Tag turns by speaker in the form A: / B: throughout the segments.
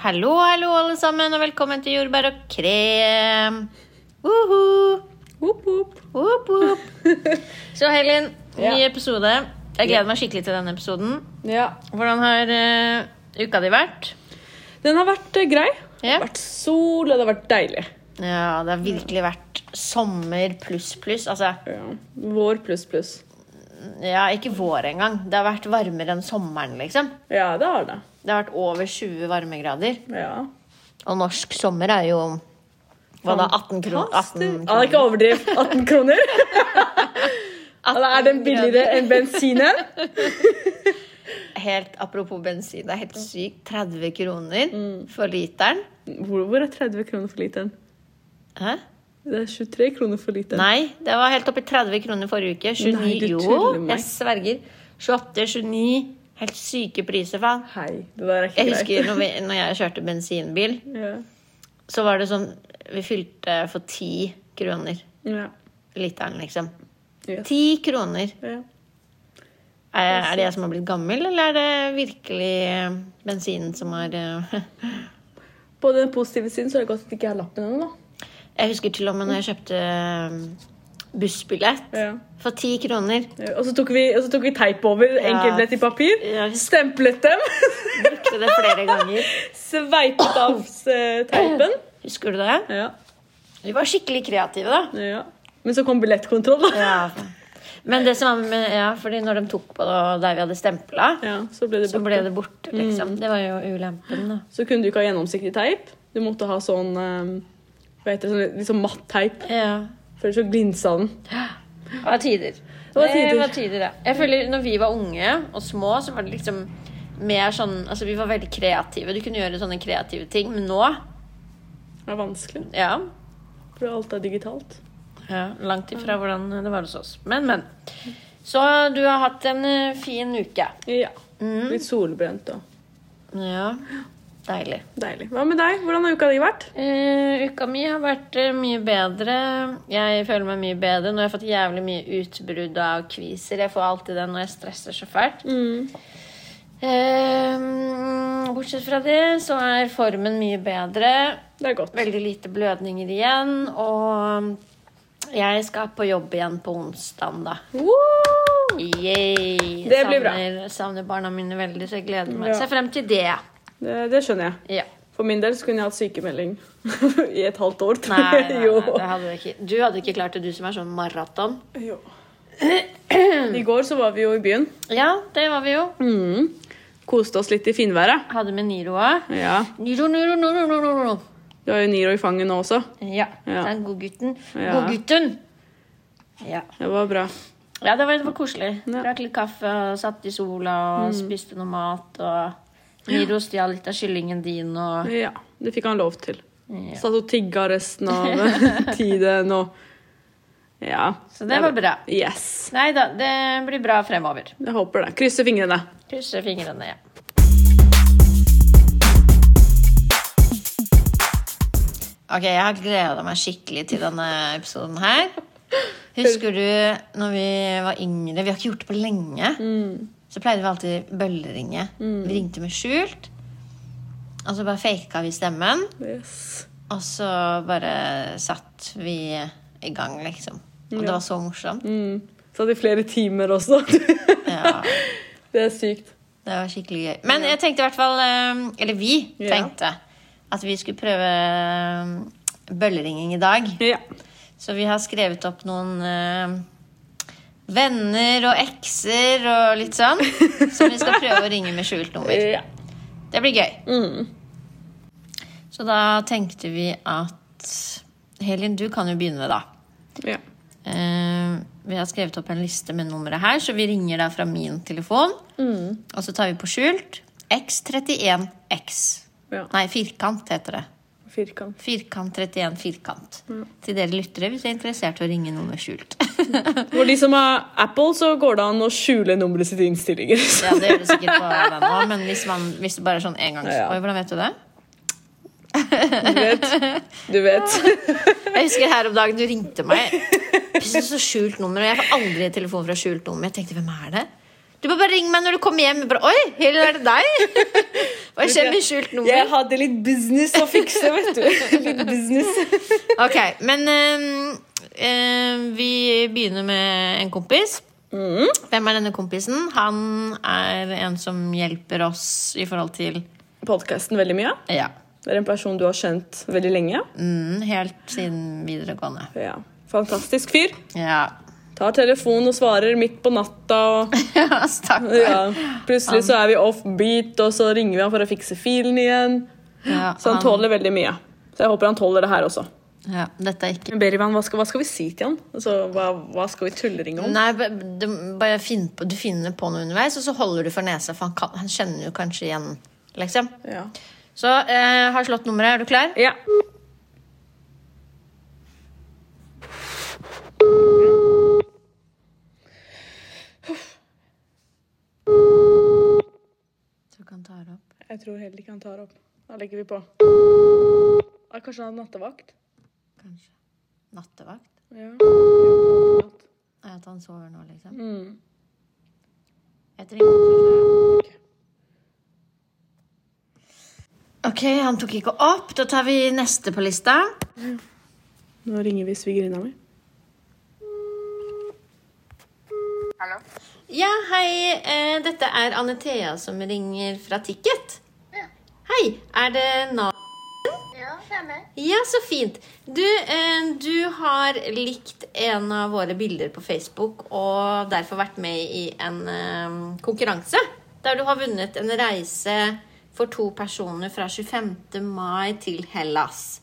A: Hallo, hallo, alle sammen, og velkommen til Jordbær og krem. Uhu.
B: Opp, opp.
A: Whoop, whoop. Så Helin, ny
B: Ja.
A: episode. Jeg gleder meg skikkelig til denne episoden.
B: Ja.
A: Hvordan har eh, uka di vært?
B: Den har vært eh, grei. Det
A: Ja.
B: har vært sol, og det har vært deilig.
A: Ja, det har virkelig vært sommer pluss pluss. Altså,
B: Ja. Vår pluss, pluss.
A: ja, ikke vår engang. Det har vært varmere enn sommeren, liksom.
B: Ja, det har det.
A: Det har vært over 20 varmegrader.
B: Ja.
A: Og norsk sommer er jo hva da, 18 kroner?
B: Fantastisk. Ja, det er ikke overdrevet. 18 kroner. Ja, da er den billigere enn bensinen.
A: Helt apropos bensin, det er
B: Mm.
A: helt sykt. 30 kroner for literen.
B: Hvor, hvor er 30 kroner for literen?
A: Hæ?
B: Det er 23 kroner for literen.
A: Nei, det var helt oppi 30 kroner forrige uke. 29,
B: Nei, du
A: jo,
B: tuller med meg.
A: jeg sverger. 28, 29. Helt syke priser, faen.
B: Hei, det der er ikke
A: Jeg
B: greit.
A: husker når, vi, når jeg kjørte bensinbil,
B: Ja.
A: så var det sånn Vi fylte for 10 kroner
B: Ja.
A: literen, liksom.
B: Ja.
A: 10 kroner.
B: Ja.
A: Er, er det jeg som har blitt gammel, eller er det virkelig eh, bensinen som har eh,
B: På den positive siden så er det godt at jeg ikke har lappen ennå, da.
A: Jeg husker til og med når jeg kjøpte eh, bussbillett
B: Ja.
A: for 10 kroner.
B: Ja, Og så tok vi, og så tok vi teip over enkeltbrett i papir,
A: Ja.
B: stemplet dem,
A: Brukte det flere ganger.
B: sveipet av eh, teipen.
A: Husker du det?
B: Ja,
A: Vi var skikkelig kreative, da.
B: ja. Men så kom billettkontroll, da.
A: Ja. Men det som var med, ja, fordi når de tok på det, der vi hadde stempla,
B: Ja, så, ble det
A: så
B: borte.
A: ble det borte, liksom. Det var jo ulempen, da.
B: så kunne du ikke ha gjennomsiktig teip. Du måtte ha sånn eh, hva heter det, sånn, litt sånn matt teip,
A: Ja.
B: for ellers så glinsa den.
A: Det var tider. Det
B: var tider.
A: var tider ja. Jeg føler Når vi var unge og små, så var det liksom mer sånn Altså, vi var veldig kreative. Du kunne gjøre sånne kreative ting, men nå
B: Det er vanskelig,
A: Ja.
B: for alt er digitalt.
A: ja langt ifra hvordan det var hos oss. Men, men. Så du har hatt en eh, fin uke.
B: Ja.
A: Mm.
B: Litt solbrent og
A: Ja. Deilig.
B: deilig. Hva med deg? Hvordan har uka di vært?
A: Eh, uka mi har vært eh, mye bedre. Jeg føler meg mye bedre. Nå har jeg fått jævlig mye utbrudd av kviser. Jeg får alltid det når jeg stresser så fælt. Eh, mm, bortsett fra det så er formen mye bedre.
B: Det er godt.
A: Veldig lite blødninger igjen. Og jeg skal på jobb igjen på onsdag, da.
B: Woo!
A: Yay.
B: Det blir bra.
A: Savner, savner barna mine veldig, så jeg gleder meg.
B: Ja.
A: Se frem til det.
B: Det, det skjønner jeg.
A: Ja.
B: For min del så kunne jeg hatt sykemelding i et halvt år.
A: Nei,
B: tror
A: nei,
B: jeg.
A: nei,
B: Jo.
A: det hadde du ikke. Du hadde ikke klart det, du som er sånn maraton.
B: Jo. I går så var vi jo i byen.
A: Ja, det var vi jo.
B: Mm. Koste oss litt i finværet.
A: Hadde med Niroa.
B: Ja.
A: Niro, Niro, Niro, Niro, Niro.
B: Du har jo Niro i fanget nå også.
A: Ja.
B: Ja.
A: Den godgutten.
B: Ja.
A: Godgutten! Ja.
B: Det var bra.
A: ja, det var, det var koselig.
B: Ja. Mm.
A: Drakk litt kaffe, og satt i sola og spiste noe mat. Og Niro stjal litt av kyllingen din og
B: Ja, Det fikk han lov til.
A: Ja.
B: Satt og tigga resten av tiden og Ja.
A: Så det var bra.
B: Yes.
A: Nei da, det blir bra fremover.
B: Jeg håper det. Krysser fingrene.
A: Krysser fingrene, ja. Ok, jeg har gleda meg skikkelig til denne episoden her. Husker du når vi var yngre Vi har ikke gjort det på lenge. Så pleide vi alltid bølleringe. Vi ringte med skjult. Og så bare faka vi stemmen.
B: Yes.
A: Og så bare satt vi i gang, liksom. Og det var så morsomt.
B: Mm. Satt i flere timer også.
A: Ja.
B: det er sykt.
A: Det var skikkelig gøy. Men jeg tenkte i hvert fall eh, Eller vi
B: Ja.
A: tenkte at vi skulle prøve eh, bølleringing i dag.
B: Ja.
A: Så vi har skrevet opp noen eh, venner og ekser og litt sånn. Som vi skal prøve å ringe med skjult nummer.
B: ja. Mm.
A: Det blir gøy. Så da tenkte vi at Helin, du kan jo begynne, da.
B: ja.
A: Eh, vi har skrevet opp en liste med nummeret her, så vi ringer da fra min telefon. Og så tar vi på skjult. X31X.
B: Ja.
A: Nei, firkant heter det.
B: Firkant.
A: Firkant 31 firkant.
B: Mm.
A: Til dere lyttere hvis dere er interessert i å ringe noen med skjult.
B: For de som har Apple, så går det an å skjule nummeret sitt i innstillinger.
A: ja, det gjør det sikkert på den òg, men hvis, man, hvis det bare er sånn en gang så-
B: Ja.
A: Oi, hvordan vet du det?
B: Du vet. Du vet.
A: Jeg husker her om dagen du ringte meg. Plutselig så skjult nummer, og jeg får aldri telefon fra skjult nummer. Jeg tenkte, hvem er det? Du må bare ringe meg når du kommer hjem. Bare, Oi, Hilde, er det deg? Hva skjer med skjult
B: Jeg
A: nummer?
B: hadde litt business å fikse, vet du. Litt business.
A: Ok, men eh, eh, vi begynner med en kompis. Hvem er denne kompisen? Han er en som hjelper oss i forhold til
B: Podkasten veldig mye.
A: Ja.
B: Det er en person du har kjent veldig lenge.
A: Mm, helt siden videregående.
B: Ja. Fantastisk fyr.
A: Ja.
B: Tar telefonen og svarer midt på natta. og...
A: Stakkar.
B: Ja. Plutselig så er vi offbeat, og så ringer vi han for å fikse filen igjen.
A: Ja,
B: Så han tåler veldig mye. Så jeg håper han tåler det her også.
A: ja, dette er ikke
B: Men Berivan, hva skal, hva skal vi si til han? Altså, hva, hva skal vi tulleringe om?
A: Nei, ba- du, bare finn på, du finner på noe underveis, og så holder du for nesa, for han, kan, han kjenner jo kanskje igjen, liksom.
B: Ja.
A: Så eh, har slått nummeret. Er du klar?
B: ja.
A: Så kan ta det opp.
B: Jeg tror heller ikke han tar opp. Da legger vi på. Ja, kanskje han har nattevakt?
A: Kanskje. Nattevakt?
B: Ja.
A: Nei, at han sover nå, liksom. Jeg trenger OK, han tok ikke opp. Da tar vi neste på lista.
B: Nå ringer vi svigerinna mi.
C: Hallo?
A: Ja, hei. Eh, dette er Anne Thea som ringer fra Ticket.
C: Ja.
A: Hei. Er det Nav?
C: Ja, det er meg.
A: Ja, så fint. Du, eh, du har likt en av våre bilder på Facebook og derfor vært med i en eh, konkurranse der du har vunnet en reise for to personer fra 25. mai til Hellas.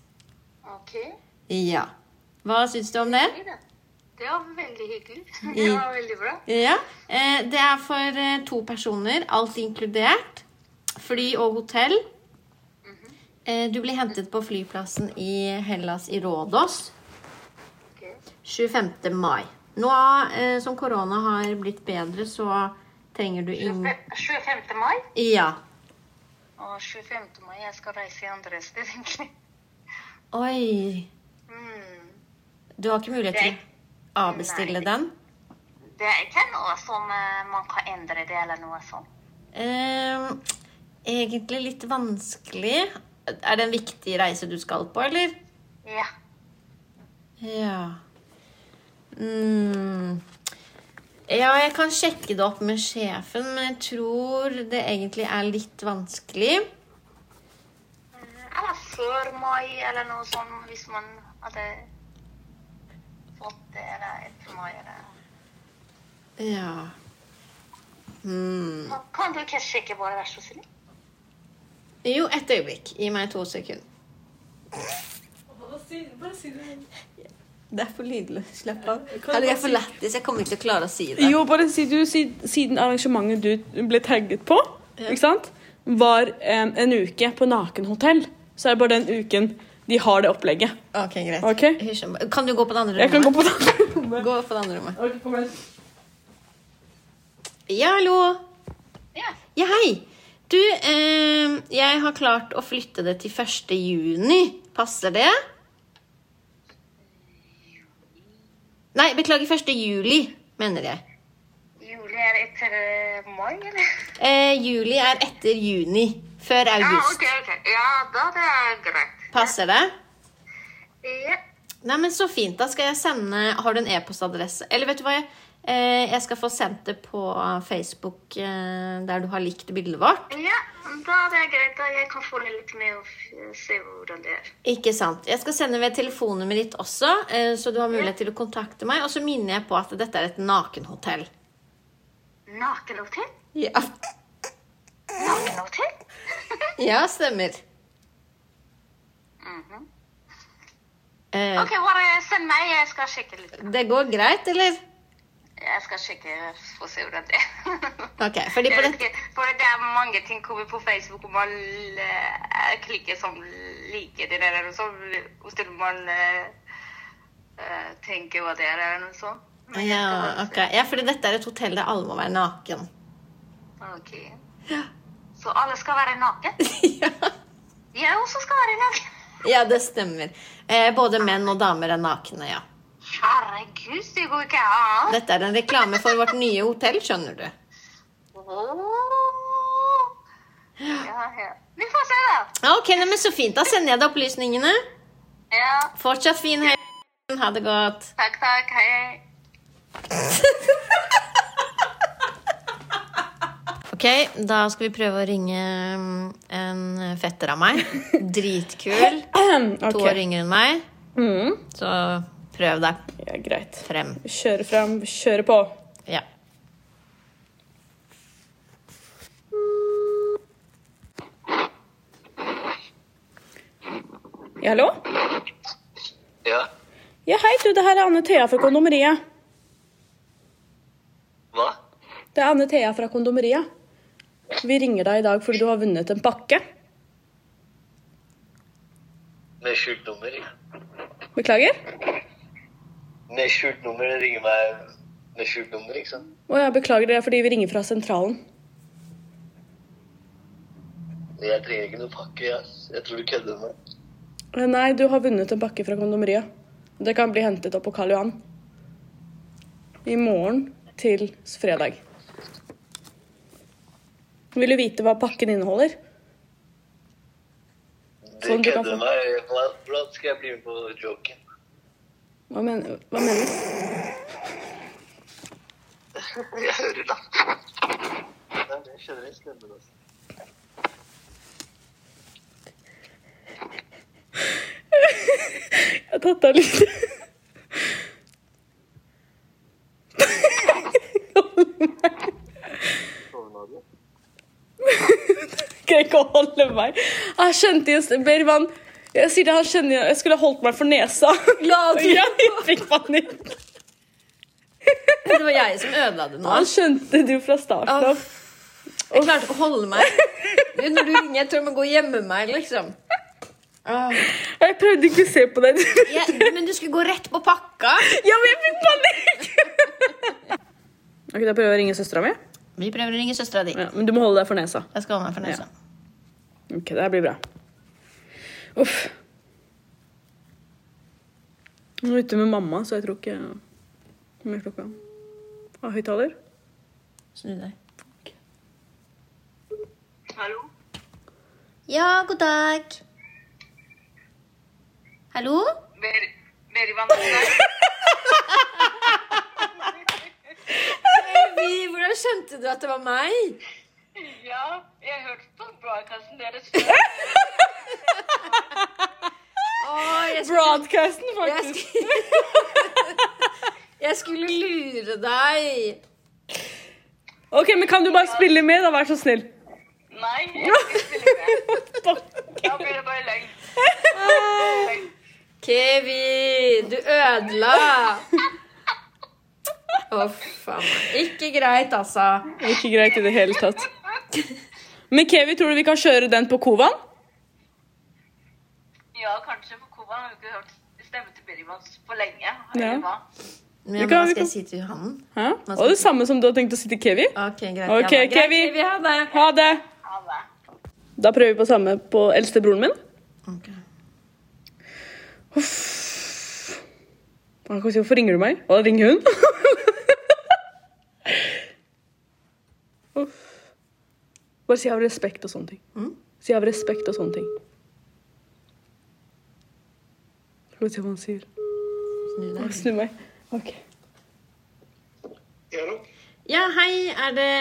C: Ok.
A: Ja. Hei, Hva syns du om det?
C: Det var veldig hyggelig. Det var veldig bra.
A: Ja. Eh, det er for eh, to personer, alt inkludert. Fly og hotell. Eh, du blir hentet på flyplassen i Hellas i Rådos
C: Ok.
A: 25. mai. Nå eh, som korona har blitt bedre, så trenger du ingen
C: 25. mai?
A: Ja.
C: Å, 25. mai. Jeg skal reise i andre steder, egentlig.
A: Oi.
C: Mm.
A: Du har ikke mulighet til å avbestille
C: Nei.
A: den?
C: Det er ikke noe som eh, man kan endre det, eller noe sånt.
A: Eh, egentlig litt vanskelig. Er det en viktig reise du skal på, eller?
C: Ja.
A: Ja. Mm. Ja, jeg kan sjekke det opp med sjefen, men jeg tror det egentlig er litt vanskelig.
C: Eller før mai, eller noe sånt, hvis man hadde fått det, eller etter mai, eller...
A: Ja. Mm.
C: Kan- Kan du ikke sjekke bare, vær så snill?
A: Jo, et øyeblikk. Gi meg to sekunder. Det er for lydløst. Slapp av. Eller jeg er for lættis. Jeg kommer ikke til å klare å si det.
B: Jo, bare si du, si- siden arrangementet du ble tagget på, ikke sant, var em, en uke på nakenhotell, så er det bare den uken de har det opplegget.
A: Ok, greit.
B: Ok.
A: Hysj. Kan du gå på det andre
B: Jeg kan gå
A: rommet?
B: på det.
A: Gå på det andre rommet.
B: Ok, kom igjen.
A: Ja, hallo.
C: Ja.
A: Ja, hei. Du, eh, jeg har klart å flytte det til 1. juni. Passer det? Nei, beklager. 1. juli, mener jeg.
C: Juli er etter eh, mai, eller?
A: Eh, juli er etter juni. Før
C: Ja,
A: august.
C: Ah, ok, ok. Ja, da det er greit.
A: Passer det?
C: Ja.
A: Nei, men så fint. Da skal jeg sende Har du en e-postadresse? Eller vet du hva? Jeg, eh, jeg skal få sendt det på Facebook, eh, der du har likt bildet vårt.
C: ja, da det er greit. Da jeg kan følge litt med og f- se hvordan det er.
A: Ikke sant. Jeg skal sende ved telefonnummeret ditt også, eh, så du har mulighet til å kontakte meg. Og så minner jeg på at dette er et nakenhotell.
C: Nakenhotell?
A: Ja,
C: Nakenhotell?
A: ja stemmer. Eh,
C: Mhm. Ok, bare send meg. Jeg skal sjekke litt.
A: Det går greit, eller?
C: Jeg skal sjekke for å se hvordan det er.
A: Ok, fordi
C: Jeg
A: på
C: vet
A: det...
C: ikke, for det er mange ting kommer på Facebook, og man eh, klikker som liker det der, og så og så man eh, eh, tenker hva det er, eller noe sånt. Men jeg
A: Ja,
C: skal
A: ok. ja, fordi dette er et hotell der alle må være naken.
C: bare se. Ok. Så alle skal være naken?
A: ja.
C: Jeg også skal være naken.
A: ja, det stemmer. Eh, både menn og damer er nakne, ja.
C: Herregud, det går ikke an.
A: Dette er en reklame for vårt nye hotell, skjønner du.
C: Åh. Ja, ja. Vi får se, da.
A: Ja, Ok, nei, men Så fint. Da sender jeg deg opplysningene.
C: Ja.
A: Fortsatt fin helg. Ha det godt.
C: Takk, takk. Hei, hei.
A: Ok, Da skal vi prøve å ringe mm, en fetter av meg. Dritkul. To år
B: Ok.
A: yngre enn meg.
B: Mm.
A: Så prøv deg
B: Ja, greit.
A: frem.
B: Kjøre fram, kjøre på.
A: Ja.
B: Ja, hallo?
D: Ja,
B: Ja, hei, du, det her er Anne Thea fra Kondomeriet.
D: hva?
B: Det er Anne Thea fra Kondomeriet. Vi ringer deg i dag fordi du har vunnet en pakke.
D: Med skjult nummer? ja.
B: Beklager?
D: Med skjult nummer det ringer meg med skjult nummer, ikke sant?
B: Å ja, beklager, det er fordi vi ringer fra sentralen.
D: Jeg trenger ikke noen pakke, ass. Jeg tror du kødder med meg.
B: Eh, Nei, du har vunnet en pakke fra Kondomeriet. Det kan bli hentet opp på Karl Johan. I morgen til fredag. Vil du vite hva pakken inneholder?
D: Du
B: Sånn, du kan få-
D: kødder med meg. Hva- Hvordan skal jeg bli med på joken?
B: Hva mener, hva mener du?
D: Jeg hører da. Nei, det skjønner jeg stemmer, altså.
B: Jeg har tatt av litt.
D: Sovna du?
B: Jeg greier ikke å holde meg. Jeg skjønte just Bervan Jeg sier det, han kjenner jeg, jeg skulle ha holdt meg for nesa.
A: La du-
B: Ja, jeg fikk panikk.
A: Det var jeg som ødela det nå.
B: Han skjønte det jo fra starten av.
A: Jeg klarte ikke å holde meg. Du, Når du ringer, jeg tror jeg må gå og gjemme meg, liksom. Åh.
B: Jeg prøvde ikke å se på deg.
A: Ja, men du skulle gå rett på pakka.
B: Ja, men jeg fikk panikk! Ok, Da prøver jeg å ringe søstera mi.
A: Vi prøver å ringe søstera di.
B: Ja, men du må holde deg for nesa.
A: Jeg skal holde meg for nesa.
B: Ok, det her blir bra. Uff. Hun er ute med mamma, så jeg tror ikke Hvor mye er klokka? Ah, høyttaler?
A: Snu deg.
C: Hallo?
A: Ja, god dag. Hallo?
C: Mer, Merivan, hva er det?
A: Vi, hvordan skjønte du at det var meg?
C: Ja, jeg hørte på broadcasten deres. før.
A: Åh, jeg, skulle,
B: Broadcasten,
A: jeg, skulle, jeg skulle lure deg.
B: Ok, men Kan du bare spille med, da? Vær så snill.
C: Nei, jeg vil spille med. Da blir det bare løgn. Løgn.
A: Kevin, du ødela. Å, faen. Ikke greit, altså.
B: Ikke greit i det hele tatt. Men Kevi, tror du vi kan kjøre den på Kovan?
C: Ja, kanskje, for Kovan har jo ikke hørt stemmen til Merivan på lenge.
B: Ja.
C: eller hva?
A: Men
B: Vi kan-
A: hva
B: vi
A: skal
B: kan-
A: jeg si til Johan?
B: Hæ? Og det samme som du har tenkt å si til Kevi?
A: Ok, greit. Ja, da,
B: Ok,
A: greit,
B: Kevin.
A: Kevin, ha det.
B: Ha det!
C: Ha det.
B: Da prøver vi på samme på eldstebroren min.
A: Ok.
B: Han kan si, Hvorfor ringer du meg? Og da ringer hun. Uff. Bare si av respekt og sånne ting.
A: Mm.
B: Si av respekt og sånne ting. Skal vi se hva han sier.
A: Snu deg.
B: Snu meg. Ok.
E: Ja, da.
A: Ja, hei, er det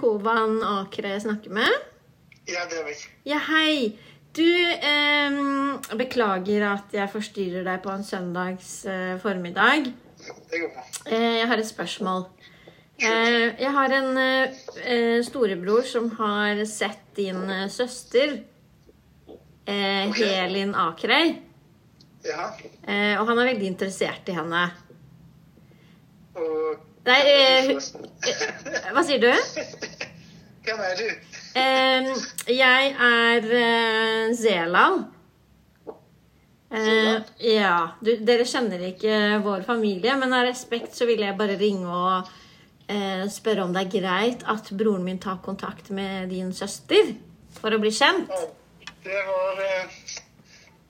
A: Kovan Akre jeg snakker med?
E: ja det er meg.
A: Ja, hei. Du, ehm, beklager at jeg forstyrrer deg på en søndags eh, formiddag.
E: Det går bra.
A: Eh, jeg har et spørsmål. Eh, jeg har en eh, eh, storebror som har sett din eh, søster, eh, Helin Akrøy,
E: Ja,
A: eh, og han er veldig interessert i henne.
E: og
A: Nei, eh, hva sier du?
E: Hvem er du?
A: Ehm, jeg er eh, Zeland. Eh, ja. Du, dere kjenner ikke vår familie, men av respekt så ville jeg bare ringe og eh, spørre om det er greit at broren min tar kontakt med din søster for å bli kjent.
E: Det var eh,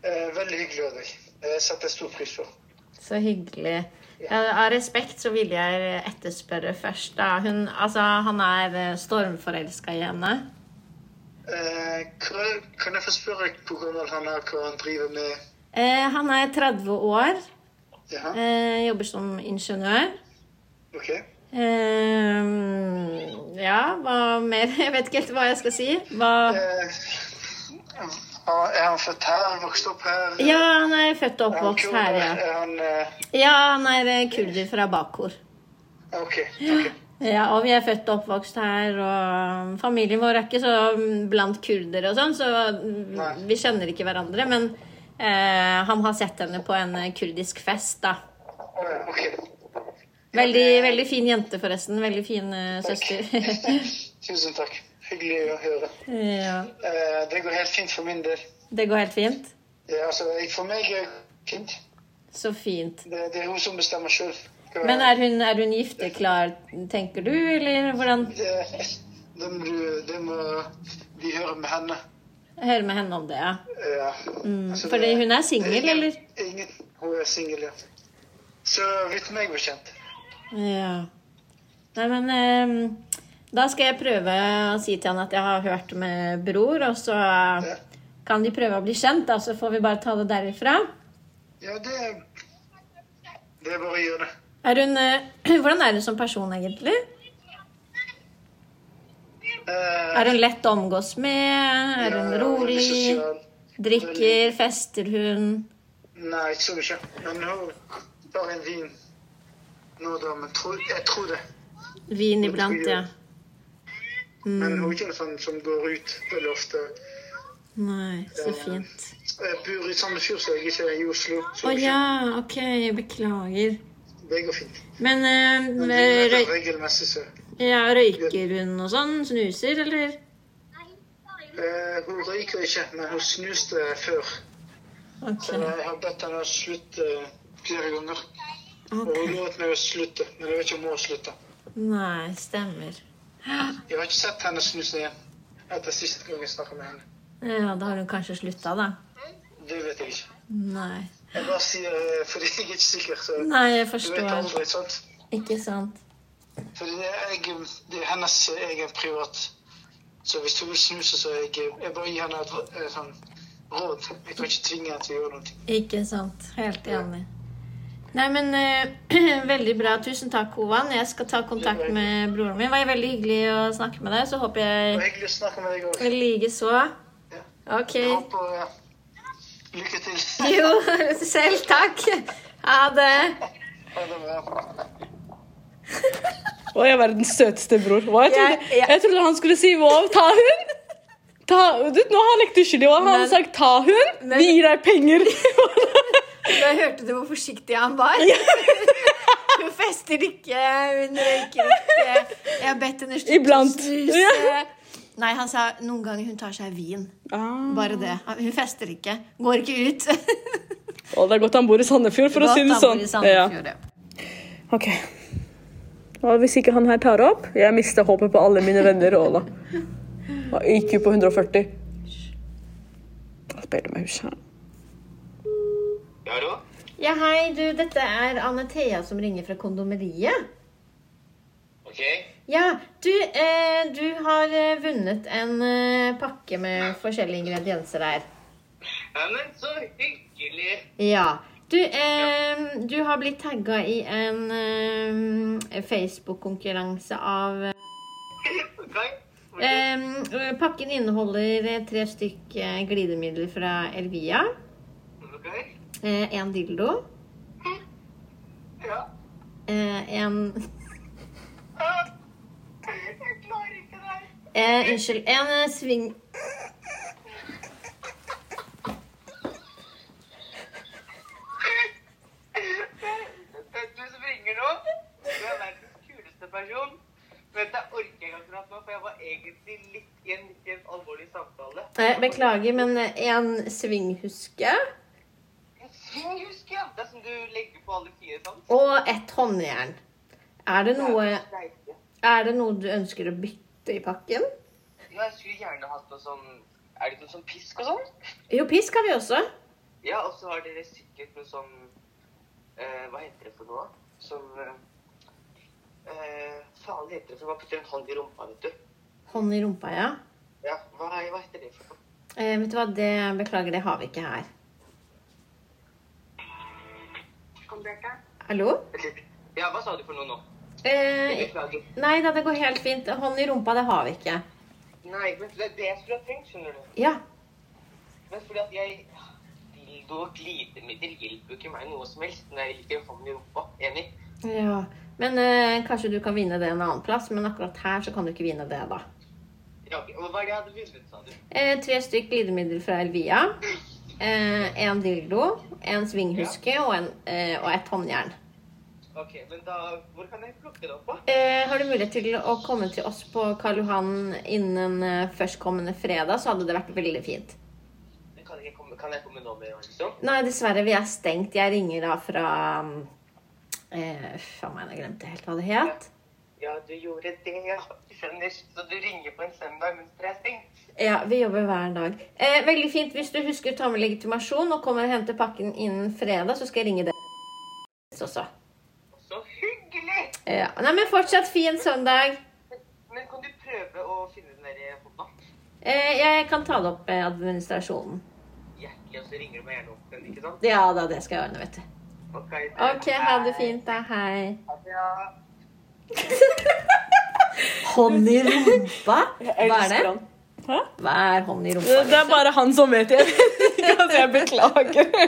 E: eh, veldig hyggelig av deg. Det setter jeg stor pris på.
A: Så hyggelig. Ja, av respekt så ville jeg etterspørre først, da. Hun, altså, han er eh, stormforelska i henne.
E: Eh, hva- kan jeg få spørre hvor gammel han er, hva han driver med?
A: Eh, han er 30 år,
E: Jaha,
A: eh, jobber som ingeniør.
E: ok.
A: Eh, ja, hva mer? Jeg vet ikke helt hva jeg skal si. Hva
E: Eh, ja, er han født her, vokst opp her?
A: Ja, han er født og
E: Er han
A: oppvokst
E: kurder?
A: her, ja.
E: Er han, eh,
A: Ja, han er eh, kurder fra Bakhor.
E: ok, ok.
A: Ja, og vi er født og oppvokst her, og familien vår er ikke så mm, blant kurdere og sånn, så mm,
E: Nei.
A: vi kjenner ikke hverandre, men eh, han har sett henne på en eh, kurdisk fest, da.
E: Ja, ok.
A: Veldig, veldig fin jente, forresten. Veldig fin eh, søster.
E: Tusen takk. Hyggelig å høre.
A: ja.
E: Eh, det går helt fint for min del.
A: Det går helt fint?
E: Ja, altså, jeg- for meg er det fint.
A: Så fint.
E: Det, det er hun som bestemmer sjøl.
A: Men er hun, er hun gifteklar, tenker du, eller hvordan
E: det, det, må du, det må de høre med henne.
A: Høre med henne om det, ja.
E: Ja. Altså,
A: Mm. fordi
E: det-
A: hun er singel,
E: det ingen-
A: eller?
E: Ingen. Hun er singel, ja. Så vidt meg bekjent.
A: Ja. Nei, men ehm, da skal jeg prøve å si til han at jeg har hørt med bror, og så eh,
E: Ja.
A: kan de prøve å bli kjent, da, så får vi bare ta det derifra.
E: Ja, det Det er bare å gjøre det.
A: Er hun, eh, hvordan er hun som person, egentlig?
E: Eh,
A: Er hun lett å omgås med? Er hun
E: ja,
A: rolig?
E: sosial.
A: Drikker? Fester hun?
E: Nei, ikke så mye. Men hun tar en vin nå og da. Men tro, jeg tror det.
A: Vin iblant, ja. Mm.
E: Men hun er ikke sånn som går ut veldig ofte.
A: Nei, så fint.
E: Jeg bor i Sandefjord, så jeg er ikke i Oslo. så
A: Å ja, OK, jeg beklager.
E: Det går fint.
A: Men
E: Men
A: eh,
E: vi
A: eh,
E: møter
A: røy
E: regelmessig, så
A: ja, røyker hun og sånn? Snuser, eller?
E: Eh, Hun røyker ikke, men hun snuste før.
A: Ok.
E: Så jeg har bedt henne å slutte flere ganger. Og
A: ok.
E: hun lot meg å slutte, men jeg vet ikke om hun har slutta.
A: Nei, stemmer.
E: Jeg har ikke sett henne snuse igjen etter siste gang jeg snakket med henne.
A: Ja, da har hun kanskje slutta, da.
E: Det vet jeg ikke.
A: Nei.
E: Jeg bare sier eh, fordi jeg er ikke sikker. Så
A: Nei, jeg
E: du vet
A: forstår.
E: aldri, sant?
A: Ikke sant.
E: Fordi det er, jeg, det er hennes egen privat. Så hvis hun vil snuse, så jeg, jeg bare gir henne et, eh, sånn råd. Jeg kan ikke tvinge henne til å gjøre noe.
A: Ikke sant. Helt enig. Nei, men eh, veldig bra. Tusen takk, Hovan. Jeg skal ta kontakt med broren min. Det var veldig hyggelig å snakke med deg, så håper
E: Det
A: jeg
E: var hyggelig å snakke med deg òg.
A: likeså. OK.
E: Jeg håper ja. Lykke til.
A: Jo, selv takk. Ha det.
E: Ha det bra.
B: Å, jeg er verdens søteste bror. Hva, jeg, trodde,
A: Jeg- jeg-
B: jeg trodde han skulle si wow, ta hun! Ta, du, nå har han lekt uskyldig, og han
A: Men-
B: hadde sagt ta hun!
A: Men-
B: Vi gir deg penger!
A: Da hørte du hvor forsiktig han var. Hun fester ikke, hun røyker ikke. Jeg har bedt henne slutte
B: Iblant.
A: å snuse. Nei, han sa noen ganger hun tar seg vin.
B: Ah.
A: Bare det. Hun fester ikke. Går ikke ut.
B: Å, det er godt han bor i Sandefjord, for å si det
A: Godt, han
B: sånn.
A: bor i
B: Ja.
A: Sandefjord, ja.
B: Ok. Og hvis ikke han her tar opp Jeg mister håpet på alle mine venner og Ola. Og IQ på 140. Jeg spiller med huset.
D: Hallo?
A: Ja, hei, du. Dette er Anne Thea som ringer fra kondomeriet.
D: Ok.
A: Ja, du, eh, du har eh, vunnet en eh, pakke med forskjellige ingredienser her.
D: Ja, men så hyggelig.
A: Ja. Du, eh, du har blitt tagga i en eh, Facebook-konkurranse av eh,
D: Ok.
A: eh, Pakken inneholder eh, tre stykk eh, glidemiddel fra Elvia.
D: Ok.
A: Eh, en dildo.
D: Ja.
A: Eh, en
D: Ah, Jeg klarer ikke det her.
A: eh, Unnskyld. En eh, sving...
D: Det er Du som ringer nå, du er verdens kuleste person. Men det orker jeg ikke akkurat nå, for jeg var egentlig litt i en, litt i en alvorlig samtale.
A: Nei, beklager, men eh, en svinghuske
D: Jeg husker jeg. Det er som du legger på alle fire, sant?
A: og et håndjern. Er det noe,
D: Nei, ikke.
A: er det noe du ønsker å bytte i pakken?
D: Ja, jeg skulle gjerne hatt noe sånn Er det ikke noe sånn pisk og sånn?
A: Jo, pisk har vi også.
D: Ja, og så har dere sikkert noe sånn eh, Hva heter det for noe? som eh, eh, Faen heter det for man putter en hånd i rumpa, vet du.
A: Hånd i rumpa, ja.
D: Ja, hva, hva heter det for noe?
A: Eh, vet du hva, det beklager, det har vi ikke her.
C: Kom, Bjarte.
A: Hallo?
D: Vent litt. Ja, hva sa du for noe nå?
A: Eh,
D: Beklager.
A: nei da, det går helt fint. Hånd i rumpa, det har vi ikke.
D: Nei, men det er det jeg skulle ha tenkt, skjønner du.
A: Ja.
D: Men fordi at jeg Dildo og glidemiddel hjelper jo ikke meg noe som helst når jeg liker en hånd i rumpa. Enig?
A: ja. Men eh, kanskje du kan vinne det en annen plass, men akkurat her så kan du ikke vinne det, da.
D: Ja, ok. Og Hva er det jeg hadde vunnet, sa du?
A: Eh, tre stykk glidemiddel fra Elvia. Eh, en dildo, en svinghuske og, en, eh, og et håndjern.
D: Ok, men da Hvor kan jeg plukke det opp, da?
A: Eh, har du mulighet til å komme til oss på Karl Johan innen eh, førstkommende fredag, så hadde det vært veldig fint.
D: Det Kan jeg, komme, kan jeg komme nå med liksom?
A: Nei, dessverre. Vi er stengt. Jeg ringer da fra mm, eh, Faen meg, jeg glemte helt hva det het.
D: Ja, du gjorde det, ja. Du skjønner. Så du ringer på en søndag mens dere er stengt?
A: Ja, vi jobber hver dag. Eh, veldig fint hvis du husker å ta med legitimasjon og kommer og henter pakken innen fredag, så skal jeg ringe deg også.
D: Så hyggelig!
A: Ja. Nei, men fortsatt fin søndag.
D: Men kan du prøve å finne den der hånda?
A: Eh, jeg kan ta det opp med administrasjonen.
D: Hjertelig, og så ringer du meg gjerne opp den, ikke sant?
A: Ja da, det skal jeg ordne, vet du.
D: Ok,
A: Ok, ha det fint, da. Hei.
D: Ha det, ja.
A: Hånd i rumpa?
B: Jeg
A: Hva er det?
B: elsker han. Hæ?
A: Hva er hånd i rumpa?
B: Det, det er bare han som vet det. Altså, jeg beklager.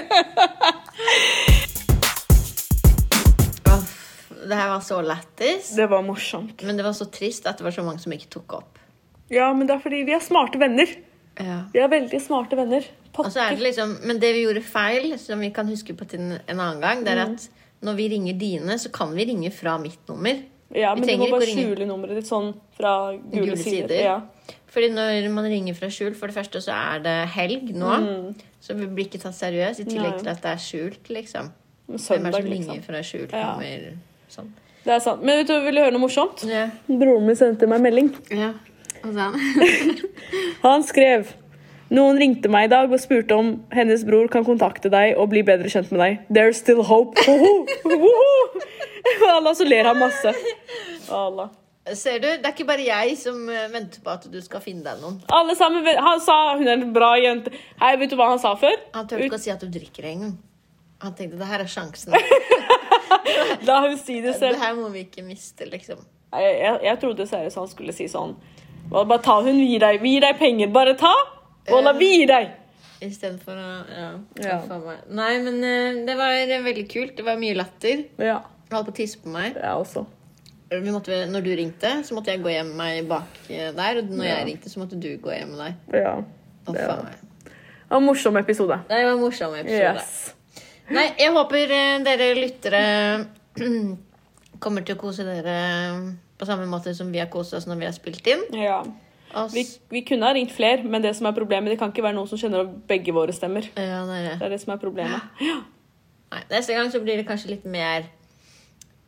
A: Uff, Det her var så lættis.
B: Det var morsomt.
A: Men det var så trist at det var så mange som ikke tok opp.
B: Ja, men det er fordi vi er smarte venner.
A: Ja.
B: Vi er veldig smarte venner.
A: Og så er det liksom, men det vi gjorde feil, som vi kan huske på til en en annen gang, det er
B: Mm.
A: at når vi ringer dine, så kan vi ringe fra mitt nummer.
B: Ja,
A: Vi
B: men du
A: trenger
B: må
A: ikke
B: bare
A: å ringe.
B: skjule nummeret ditt sånn fra gule,
A: Gule
B: sider.
A: sider.
B: Ja.
A: Fordi når man ringer fra skjult, for det første så er det helg nå, så vi blir ikke tatt seriøst, i tillegg
B: Mm. Nei.
A: til at det er skjult, liksom. Hvem er
B: Men
A: det
B: Søndag,
A: som
B: liksom.
A: ringer fra skjult
B: Ja.
A: nummer? Sånn.
B: Det er sant. Men vet du, vil du høre noe morsomt?
A: Ja.
B: Broren min sendte meg melding.
A: ja. Og sånn.
B: Han skrev Noen ringte meg i dag og spurte om hennes bror kan kontakte deg og bli bedre kjent med deg. There's still hope. Hoho! Woho! Og Allah, så ler han masse. Allah.
A: Ser du, det er ikke bare jeg som eh, venter på at du skal finne deg noen.
B: Alle sammen, vet- Han sa hun er en bra jente. Hei, vet du hva han sa før?
A: Han turte ikke å si at du drikker engang. Han tenkte det her er sjansen.
B: La hun si det selv.
A: Det her må vi ikke miste, liksom.
B: Nei, Jeg, jeg, jeg trodde seriøst han skulle si sånn Bare, bare ta hun, vi gir deg, vi gir deg penger. Bare ta! Walla, vi gir deg!
A: Istedenfor å Ja.
B: Ja.
A: faen meg. Nei, men eh, det var eh, veldig kult. Det var mye latter.
B: Ja,
A: Jeg holdt på å tisse på meg. Eh,
B: jeg også.
A: Vi måtte, når du ringte, så måtte jeg gå hjem med meg bak eh, der. Og når jeg ringte, så måtte du gå hjem med deg.
B: Ja.
A: Å,
B: Det
A: faen
B: var-
A: meg.
B: Det var En morsom episode.
A: Nei, det var en morsom episode.
B: Yes.
A: Nei, jeg håper eh, dere lyttere kommer til å kose dere eh, på samme måte som vi har kost oss når vi har spilt inn.
B: Ja.
A: Og s-
B: Vi, vi kunne ha ringt flere, men det som er problemet, det kan ikke være noen som kjenner begge våre stemmer.
A: ja, det er det.
B: Det er det som er problemet.
A: Nei, neste gang så blir det kanskje litt mer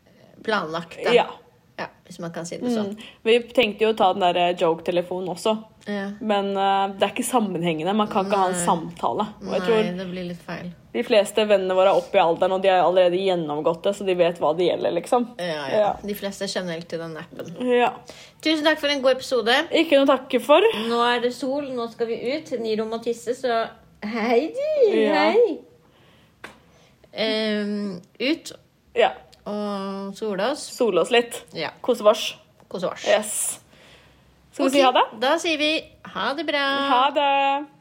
A: eh, planlagt, da.
B: Ja. Mm.
A: Ja, hvis man kan si det sånn.
B: Vi tenkte jo å ta den der eh, joke-telefonen også,
A: Ja.
B: men eh, det er ikke sammenhengende. Man kan ikke ha en
A: Nei.
B: samtale. Og
A: Nei,
B: jeg tror
A: det blir litt feil.
B: De fleste vennene våre er oppe i alderen, og de har allerede gjennomgått det, så de vet hva det gjelder, liksom.
A: Ja, ja.
B: Ja.
A: De fleste kjenner helt til den appen.
B: Ja.
A: Tusen takk for en god episode.
B: Ikke noe å takke for.
A: Nå er det sol, nå skal vi ut. Niro må tisse, så hei, du.
B: Ja.
A: Hei. Em, Ehm, ut
B: Ja.
A: og sole oss.
B: Sole oss litt.
A: Ja.
B: Kose vårs.
A: Kose oss.
B: Yes. Skal vi si ha det?
A: Da sier vi ha det bra.
B: Ha det.